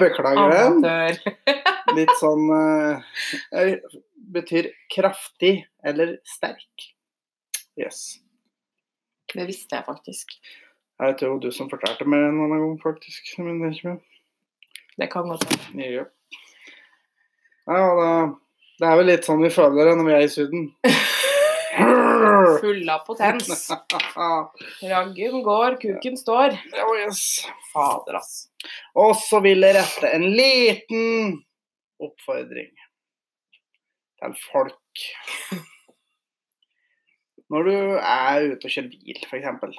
[SPEAKER 1] Beklager den
[SPEAKER 2] Amatør.
[SPEAKER 1] litt sånn eh, er- Betyr kraftig eller sterk. Yes.
[SPEAKER 2] Det visste jeg faktisk.
[SPEAKER 1] Jeg tror du som fortalte meg en annen gang, faktisk. Men det er ikke meg.
[SPEAKER 2] Det kan godt være.
[SPEAKER 1] Ja, ja da, det er vel litt sånn vi føler det når vi er i Syden.
[SPEAKER 2] Full av potens.
[SPEAKER 1] oh,
[SPEAKER 2] Raggen går, kuken står.
[SPEAKER 1] yes.
[SPEAKER 2] Fader, ass.
[SPEAKER 1] Og så vil jeg rette en liten oppfordring til folk. Når du er ute og kjører bil, f.eks.,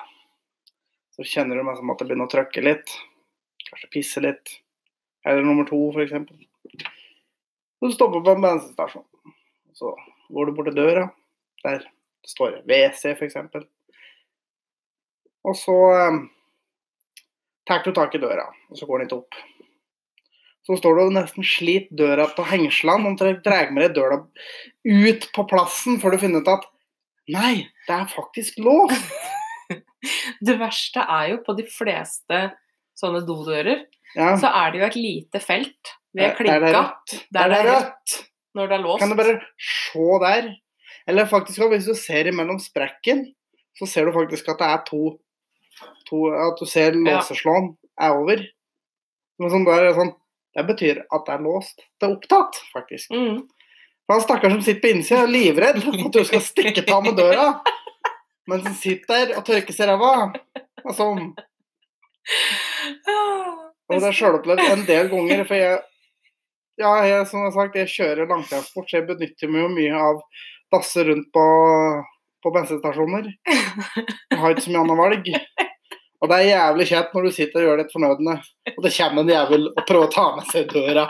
[SPEAKER 1] så kjenner du meg som at det begynner å trøkke litt. Kanskje pisse litt. Eller nummer to, f.eks. Du stopper på en bensinstasjon. Så går du bort til døra. Der det står WC, f.eks. Og så eh, tar du tak i døra, og så går den ikke opp. Så står du og nesten sliter døra på hengslene, og drar- drar med deg døra ut på plassen før du finner ut at Nei, det er faktisk lov!
[SPEAKER 2] Det verste er jo på de fleste sånne dodører,
[SPEAKER 1] Ja,
[SPEAKER 2] så er det jo et lite felt
[SPEAKER 1] Der- der er
[SPEAKER 2] ved
[SPEAKER 1] det
[SPEAKER 2] klinka
[SPEAKER 1] rødt.
[SPEAKER 2] der
[SPEAKER 1] Der
[SPEAKER 2] det
[SPEAKER 1] er
[SPEAKER 2] er
[SPEAKER 1] det
[SPEAKER 2] rødt.
[SPEAKER 1] rødt!
[SPEAKER 2] når det er låst.
[SPEAKER 1] Kan du bare se der? Eller faktisk, hvis du ser imellom sprekken, så ser du faktisk at det er to, to At du ser låseslåen er over. Men sånn der, sånn, det betyr at det er låst. Det er opptatt, faktisk.
[SPEAKER 2] Mm.
[SPEAKER 1] For han stakkaren som sitter på innsida, er livredd for at du skal stikke av med døra. Mens han sitter der og tørker seg i ræva. Altså, og det er sjølopplevd en del ganger, for jeg Ja, jeg, som jeg har sagt, jeg kjører langtransport, så jeg benytter meg jo mye av dasser rundt på, på bensinstasjoner. Jeg har ikke så mye annet valg. Og det er jævlig kjett når du sitter og gjør ditt fornødne, og det kommer en jævel og prøver å ta med seg døra.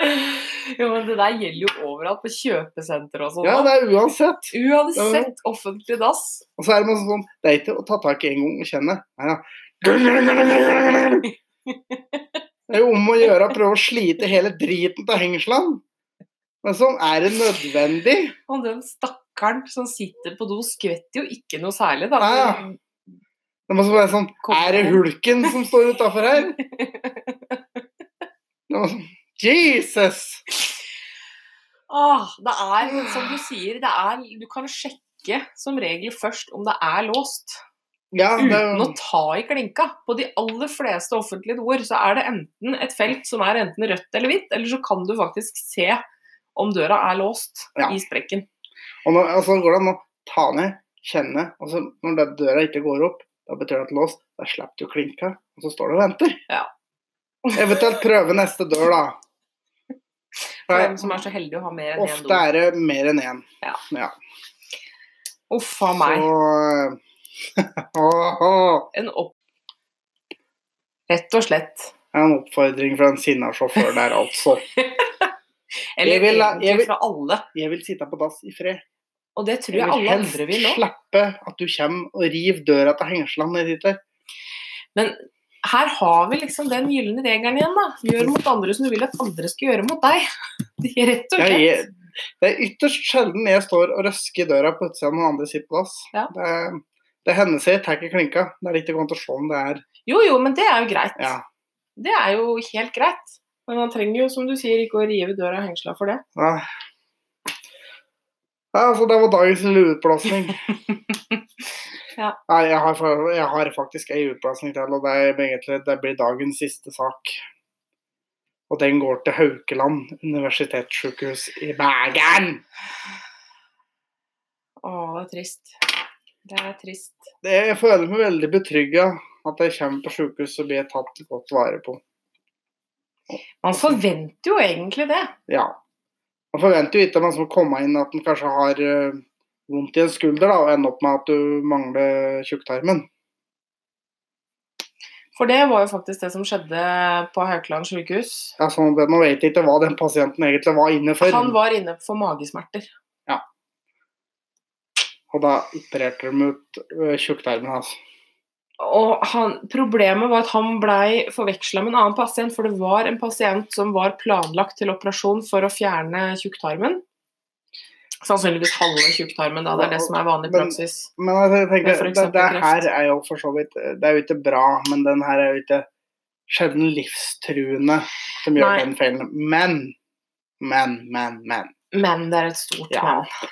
[SPEAKER 2] Jo, men det der gjelder jo overalt, på kjøpesenter og sånn.
[SPEAKER 1] Ja,
[SPEAKER 2] da.
[SPEAKER 1] det er uansett.
[SPEAKER 2] Uansett offentlig dass.
[SPEAKER 1] Og så er det masse sånn Det er ikke å ta tak i en gang og kjenne. Nei, ja. Det er jo om å gjøre å prøve å slite hele driten av hengslene. Men sånn er det nødvendig.
[SPEAKER 2] Og den stakkaren som sitter på do, skvetter jo ikke noe særlig, da.
[SPEAKER 1] Ja, ja. Det må så være sånn Er det hulken som står utafor her? Det var sånn, Jesus!
[SPEAKER 2] Åh, det er, som du sier, det er, du kan sjekke som regel først om det er låst.
[SPEAKER 1] Ja, det,
[SPEAKER 2] Uten å ta i klinka. På de aller fleste offentlige doer så er det enten et felt som er enten rødt eller hvitt, eller så kan du faktisk se om døra er låst
[SPEAKER 1] Ja.
[SPEAKER 2] i sprekken.
[SPEAKER 1] og, nå, og så går det an å ta ned, kjenne, og så når den døra ikke går opp, da betyr det at lås, da slipper du klinka, og så står du og venter.
[SPEAKER 2] Ja.
[SPEAKER 1] Eventuelt prøve neste dør, da.
[SPEAKER 2] For
[SPEAKER 1] Nei.
[SPEAKER 2] dem som er så heldige å ha mer enn én
[SPEAKER 1] Ofte
[SPEAKER 2] do.
[SPEAKER 1] er det mer enn én.
[SPEAKER 2] Uff a meg.
[SPEAKER 1] Så eh, Åh, åh.
[SPEAKER 2] En opp... Rett og slett.
[SPEAKER 1] Det er en oppfordring fra en sinna sjåfør der, altså. Jeg
[SPEAKER 2] Eller
[SPEAKER 1] vil ha- jeg
[SPEAKER 2] egentlig
[SPEAKER 1] vil-
[SPEAKER 2] fra alle.
[SPEAKER 1] Jeg vil sitte på dass i fred.
[SPEAKER 2] Og det tror jeg alle andre vil nå.
[SPEAKER 1] slippe at du kommer og river døra til hengslene når jeg sitter.
[SPEAKER 2] Men her har vi liksom den gylne regelen igjen, da. Gjør mot andre som du vil at andre skal gjøre mot deg. Det er rett og
[SPEAKER 1] Jeg,
[SPEAKER 2] slett.
[SPEAKER 1] jeg, det er ytterst sjelden jeg står og røsker i døra på utsida når andre sitter på dass.
[SPEAKER 2] Ja.
[SPEAKER 1] Det, det hender seg jeg tar ikke klinka. Det er ikke godt å se om det er
[SPEAKER 2] Jo, jo, men det er jo greit.
[SPEAKER 1] Ja.
[SPEAKER 2] Det er jo helt greit. Men man trenger jo, som du sier, ikke å rive døra av hengsla for det.
[SPEAKER 1] Nei. Nei, altså, det var dagens lille utblåsning.
[SPEAKER 2] Ja.
[SPEAKER 1] Nei, jeg har, fa- jeg har faktisk ei utblåsning til, og det, er egentlig, det blir dagens siste sak. Og den går til Haukeland universitetssykehus i Bergen.
[SPEAKER 2] Å, det er trist. Det er trist.
[SPEAKER 1] Det, jeg føler meg veldig betrygga at jeg kommer på sykehus og blir tatt godt vare på.
[SPEAKER 2] Man forventer jo egentlig det.
[SPEAKER 1] Ja. Man forventer jo ikke at man skal komme inn at man kanskje har eh, vondt i en skulder, da, og ender opp med at du mangler tjukktarmen.
[SPEAKER 2] For det var jo faktisk det som skjedde på Haukeland sykehus.
[SPEAKER 1] Ja, sånn, at Nå vet jeg ikke hva den pasienten egentlig var inne for.
[SPEAKER 2] Han var inne for magesmerter.
[SPEAKER 1] Og da opererte de ut øh, tjukktarmen hans.
[SPEAKER 2] Og han, problemet var at han blei forveksla med en annen pasient, for det var en pasient som var planlagt til operasjon for å fjerne tjukktarmen. Sannsynligvis halve tjukktarmen, da. Det er det som er vanlig
[SPEAKER 1] Men-
[SPEAKER 2] praksis.
[SPEAKER 1] Men altså, jeg
[SPEAKER 2] Men
[SPEAKER 1] tenker,
[SPEAKER 2] for
[SPEAKER 1] det,
[SPEAKER 2] eksempel
[SPEAKER 1] det
[SPEAKER 2] kreft.
[SPEAKER 1] her er jo for så vidt Det er jo ikke bra, men den her er jo ikke sjelden livstruende som gjør
[SPEAKER 2] Nei.
[SPEAKER 1] den feilen. Men, men, men, men.
[SPEAKER 2] Men det er et stort
[SPEAKER 1] Ja.
[SPEAKER 2] men.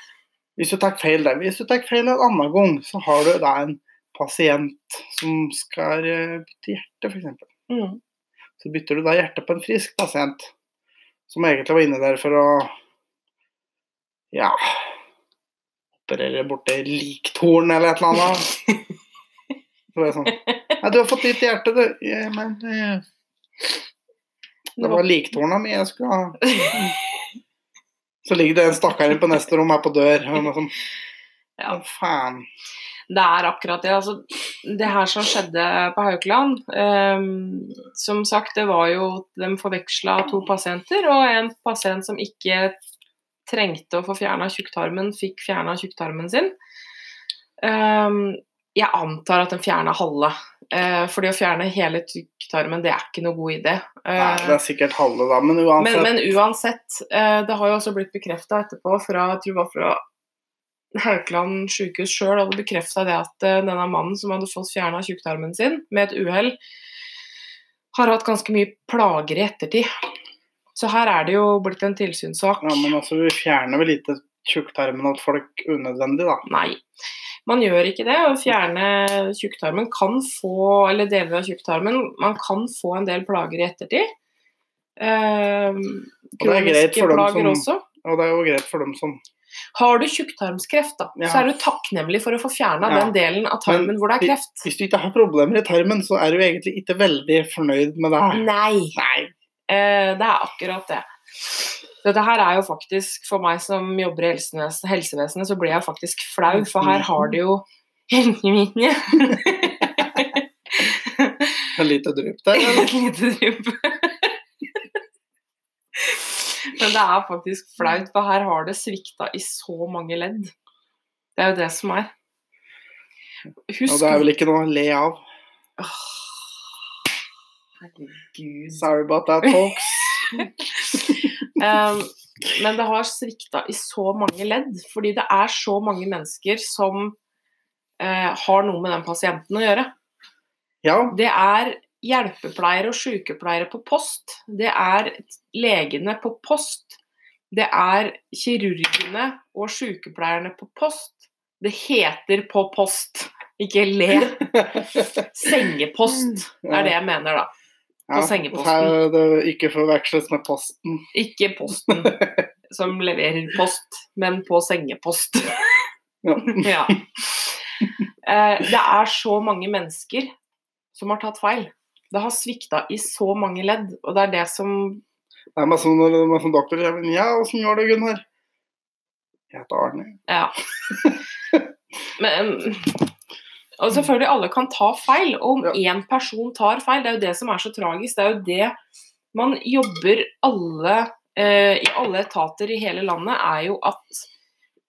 [SPEAKER 1] Hvis du tar feil der, hvis du tar feil en annen gang, så har du da en pasient som skal øh, bytte hjerte, f.eks.
[SPEAKER 2] Mm.
[SPEAKER 1] Så bytter du da hjertet på en frisk pasient, som egentlig var inne der for å ja operere borti liktorn eller et eller annet. Så var jeg sånn Nei, du har fått nytt hjerte, du. Ja, men eh, det var liktorna mi jeg skulle ha. Så ligger det en stakkar inne på neste rom her på dør. Og jeg var sånn,
[SPEAKER 2] Ja.
[SPEAKER 1] «Å, faen.
[SPEAKER 2] Det er akkurat det. Altså, det her som skjedde på Haukeland ehm, Som sagt, det var jo De forveksla to pasienter, og en pasient som ikke trengte å få fjerna tjukktarmen, fikk fjerna tjukktarmen sin. Ehm, jeg antar at den fjerna halve. Uh, fordi å fjerne hele tykktarmen, det er ikke noe god idé. Eh,
[SPEAKER 1] Nei, det er sikkert halve, da. Men uansett.
[SPEAKER 2] men, men uansett, eh, det har jo også blitt bekrefta etterpå fra jeg tror det var fra Haukeland sykehus sjøl hadde bekrefta det at eh, denne mannen som hadde fått fjerna tjukktarmen sin med et uhell, har hatt ganske mye plager i ettertid. Så her er det jo blitt en tilsynssak.
[SPEAKER 1] ja, men altså, vi fjerner vel ikke tjukktarmen til folk unødvendig, da.
[SPEAKER 2] Nei, man gjør ikke det. Å fjerne tjukktarmen kan få, eller deler av tjukktarmen, man kan få en del plager i ettertid. Eh,
[SPEAKER 1] det er greit
[SPEAKER 2] kroniske
[SPEAKER 1] for dem
[SPEAKER 2] plager
[SPEAKER 1] som-
[SPEAKER 2] også.
[SPEAKER 1] Og det er jo greit for dem som
[SPEAKER 2] Har du tjukktarmskreft, da,
[SPEAKER 1] Ja.
[SPEAKER 2] så er du takknemlig for å få fjerna
[SPEAKER 1] Ja.
[SPEAKER 2] den delen av tarmen
[SPEAKER 1] Men
[SPEAKER 2] hvor det er
[SPEAKER 1] vi-
[SPEAKER 2] kreft.
[SPEAKER 1] Hvis du ikke har problemer i tarmen, så er du egentlig ikke veldig fornøyd med det.
[SPEAKER 2] Mm.
[SPEAKER 1] her.
[SPEAKER 2] Nei.
[SPEAKER 1] Nei.
[SPEAKER 2] Eh, det er akkurat det. Dette her er jo faktisk, for meg som jobber i helsevesenet, helsevesenet så blir jeg faktisk flau, for her har det jo
[SPEAKER 1] En lite drypp der. eller?
[SPEAKER 2] Et lite drypp. Men det er faktisk flaut, for her har det svikta i så mange ledd. Det er jo det som er. Husk
[SPEAKER 1] Og det er vel ikke noe å le av.
[SPEAKER 2] Åh, Herregud.
[SPEAKER 1] Sorry about that, folks.
[SPEAKER 2] Ehm, men det har svikta i så mange ledd, fordi det er så mange mennesker som eh, har noe med den pasienten å gjøre.
[SPEAKER 1] Ja,
[SPEAKER 2] Det er hjelpepleiere og sykepleiere på post. Det er legene på post. Det er kirurgene og sykepleierne på post. Det heter på post, ikke le. Sengepost er det jeg mener, da.
[SPEAKER 1] ja.
[SPEAKER 2] sengeposten.
[SPEAKER 1] så er det ikke forveksles med posten.
[SPEAKER 2] Ikke posten som leverer post, men på sengepost.
[SPEAKER 1] Ja.
[SPEAKER 2] ja. Eh, Det er så mange mennesker som har tatt feil. Det har svikta i så mange ledd, og det er det som
[SPEAKER 1] Det er meg som, når- meg som doktor sier men ja, åssen går det, Gunnar? Jeg heter Arne.
[SPEAKER 2] Ja. Men, og selvfølgelig, alle kan ta feil. Og om
[SPEAKER 1] Ja.
[SPEAKER 2] én person tar feil, det er jo det som er så tragisk. Det er jo det man jobber alle eh, i alle etater i hele landet, er jo at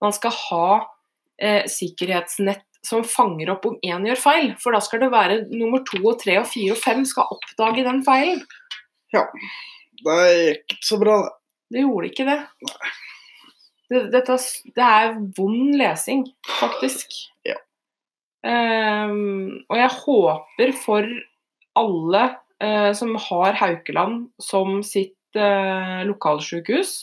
[SPEAKER 2] man skal ha eh, sikkerhetsnett som fanger opp om én gjør feil. For da skal det være nummer to og tre og fire og fem skal oppdage den feilen.
[SPEAKER 1] Det gikk ikke så bra, det.
[SPEAKER 2] Det gjorde ikke det. Det, dette, det er vond lesing, faktisk.
[SPEAKER 1] Ja.
[SPEAKER 2] Ehm, og jeg håper for alle eh, som har Haukeland som sitt uh, lokalsykehus,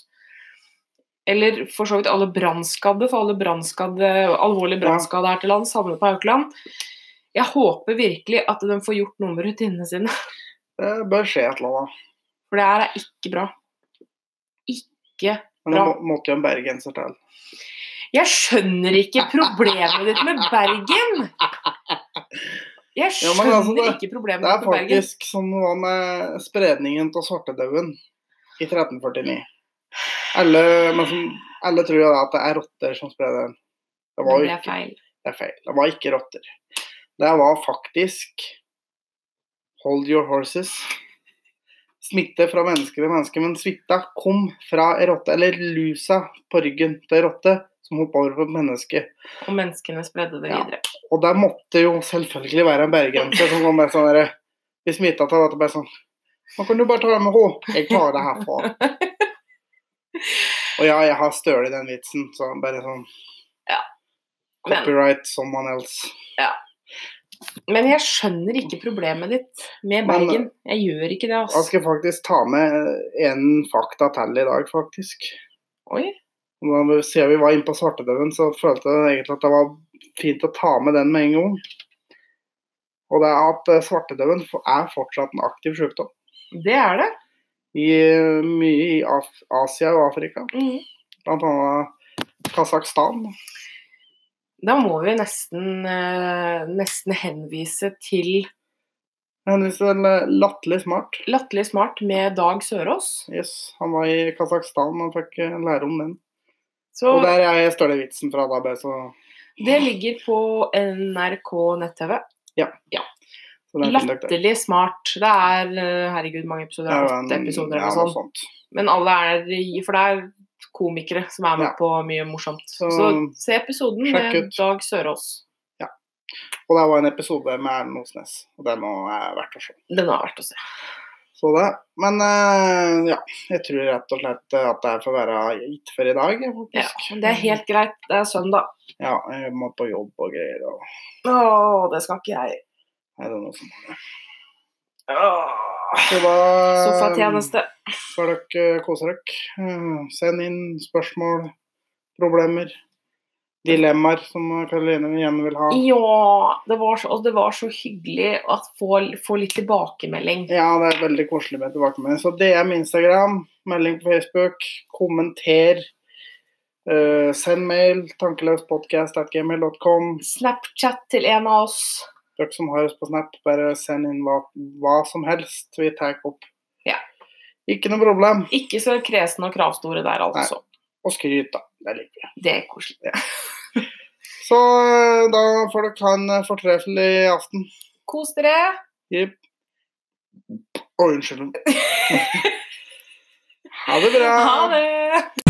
[SPEAKER 2] eller for så vidt alle brannskadde, for alle brannskadde, alvorlig brannskadde her til lands havner på Haukeland. Jeg håper virkelig at de får gjort noe med rutinene sine.
[SPEAKER 1] Det bør skje et eller annet.
[SPEAKER 2] For det her er ikke bra. Ikke
[SPEAKER 1] Men det
[SPEAKER 2] Bra.
[SPEAKER 1] må, måtte jo en bergenser til.
[SPEAKER 2] Jeg skjønner ikke problemet ditt med Bergen! Jeg
[SPEAKER 1] Ja, men
[SPEAKER 2] skjønner
[SPEAKER 1] altså, det-
[SPEAKER 2] ikke problemet
[SPEAKER 1] Det er
[SPEAKER 2] ditt med Bergen.
[SPEAKER 1] faktisk som det var med spredningen av svartedauden i 1349. Alle, men som, alle tror jo da at det er rotter som sprer den. Det var
[SPEAKER 2] Men
[SPEAKER 1] jo
[SPEAKER 2] Det er
[SPEAKER 1] ikke,
[SPEAKER 2] feil.
[SPEAKER 1] det er feil. Det var ikke rotter. Det var faktisk Hold your horses. Smitte fra menneske til menneske, men smitta kom fra ei rotte, eller lusa på ryggen til ei rotte, som hoppa over på et menneske.
[SPEAKER 2] Og menneskene spredde det
[SPEAKER 1] Ja.
[SPEAKER 2] videre.
[SPEAKER 1] Og der måtte jo selvfølgelig være en bergenser som kom med sånn derre Vi smitta til dette bare sånn Nå kan du bare ta det med henne. Jeg klarer det her faen. Og ja, jeg har stølet den vitsen, så bare sånn
[SPEAKER 2] Ja. Men-
[SPEAKER 1] Copyright someone else.
[SPEAKER 2] Men jeg skjønner ikke problemet ditt med
[SPEAKER 1] Men-
[SPEAKER 2] Bergen. Jeg gjør ikke det,
[SPEAKER 1] Jeg
[SPEAKER 2] altså.
[SPEAKER 1] skal faktisk ta med eh, en fakta til i dag, faktisk.
[SPEAKER 2] Oi.
[SPEAKER 1] Og Da siden vi var inne på svartedauden, så følte jeg egentlig at det var fint å ta med den med en gang. Og det er at eh, svartedauden er fortsatt en aktiv sykdom.
[SPEAKER 2] Det er det.
[SPEAKER 1] i eh, mye i Af Asia og Afrika,
[SPEAKER 2] Mm.
[SPEAKER 1] blant annet Kasakhstan.
[SPEAKER 2] Da må vi nesten, eh, nesten henvise til
[SPEAKER 1] Men hvis det er latterlig smart.
[SPEAKER 2] Latterlig smart med Dag Sørås.
[SPEAKER 1] Yes, han var i Kasakhstan og fikk eh, lære om den.
[SPEAKER 2] Så
[SPEAKER 1] Og der er støle vitsen fra da, bare så,
[SPEAKER 2] det ligger på NRK nett-TV.
[SPEAKER 1] så den finner dere der.
[SPEAKER 2] Latterlig smart. Det er eh, herregud mange episoder.
[SPEAKER 1] Det er jo en-
[SPEAKER 2] Åtte episoder
[SPEAKER 1] ja,
[SPEAKER 2] eller sånn.
[SPEAKER 1] noe
[SPEAKER 2] noe sånt.
[SPEAKER 1] sånt.
[SPEAKER 2] Men alle er i- For det er komikere som er med
[SPEAKER 1] Ja.
[SPEAKER 2] på mye morsomt. Så,
[SPEAKER 1] Så-
[SPEAKER 2] se episoden
[SPEAKER 1] Sjekk
[SPEAKER 2] med
[SPEAKER 1] ut.
[SPEAKER 2] Dag Sørås.
[SPEAKER 1] Og det var en episode med Erlend Osnes, og den også er verdt å se.
[SPEAKER 2] Den har vært å se.
[SPEAKER 1] Så det. Men eh, ja, jeg tror rett og slett eh, at det er for å være gitt for i dag. jeg, faktisk.
[SPEAKER 2] Ja, det er helt greit. Det er søndag.
[SPEAKER 1] Ja, jeg må på jobb og greier. Og...
[SPEAKER 2] Å, det skal ikke jeg.
[SPEAKER 1] Nei, det er noe som...
[SPEAKER 2] Åh.
[SPEAKER 1] Så da...
[SPEAKER 2] Sofatjeneste.
[SPEAKER 1] Skal dere kose dere? Eh, Send inn spørsmål, problemer, dilemmaer som Karoline igjen vil ha.
[SPEAKER 2] Ja, det var så, og det var så hyggelig å få, få litt tilbakemelding.
[SPEAKER 1] Ja, det er veldig koselig med tilbakemelding. Så DM, Instagram, melding på Facebook, kommenter. eh, send mail, tankeløspodcast.gmail.com.
[SPEAKER 2] Snapchat til en av oss.
[SPEAKER 1] Dere som har oss på Snap, bare send inn hva, hva som helst. Vi tar opp.
[SPEAKER 2] Ja.
[SPEAKER 1] Ikke noe problem.
[SPEAKER 2] Ikke så kresne og kravstore der, altså.
[SPEAKER 1] Og skryt, da. Det liker vi.
[SPEAKER 2] Det er koselig.
[SPEAKER 1] Så eh, da får dere ha en eh, fortreffelig aften.
[SPEAKER 2] Kos dere.
[SPEAKER 1] Jepp. Oh, Å, unnskyld. ha det bra.
[SPEAKER 2] Ha det.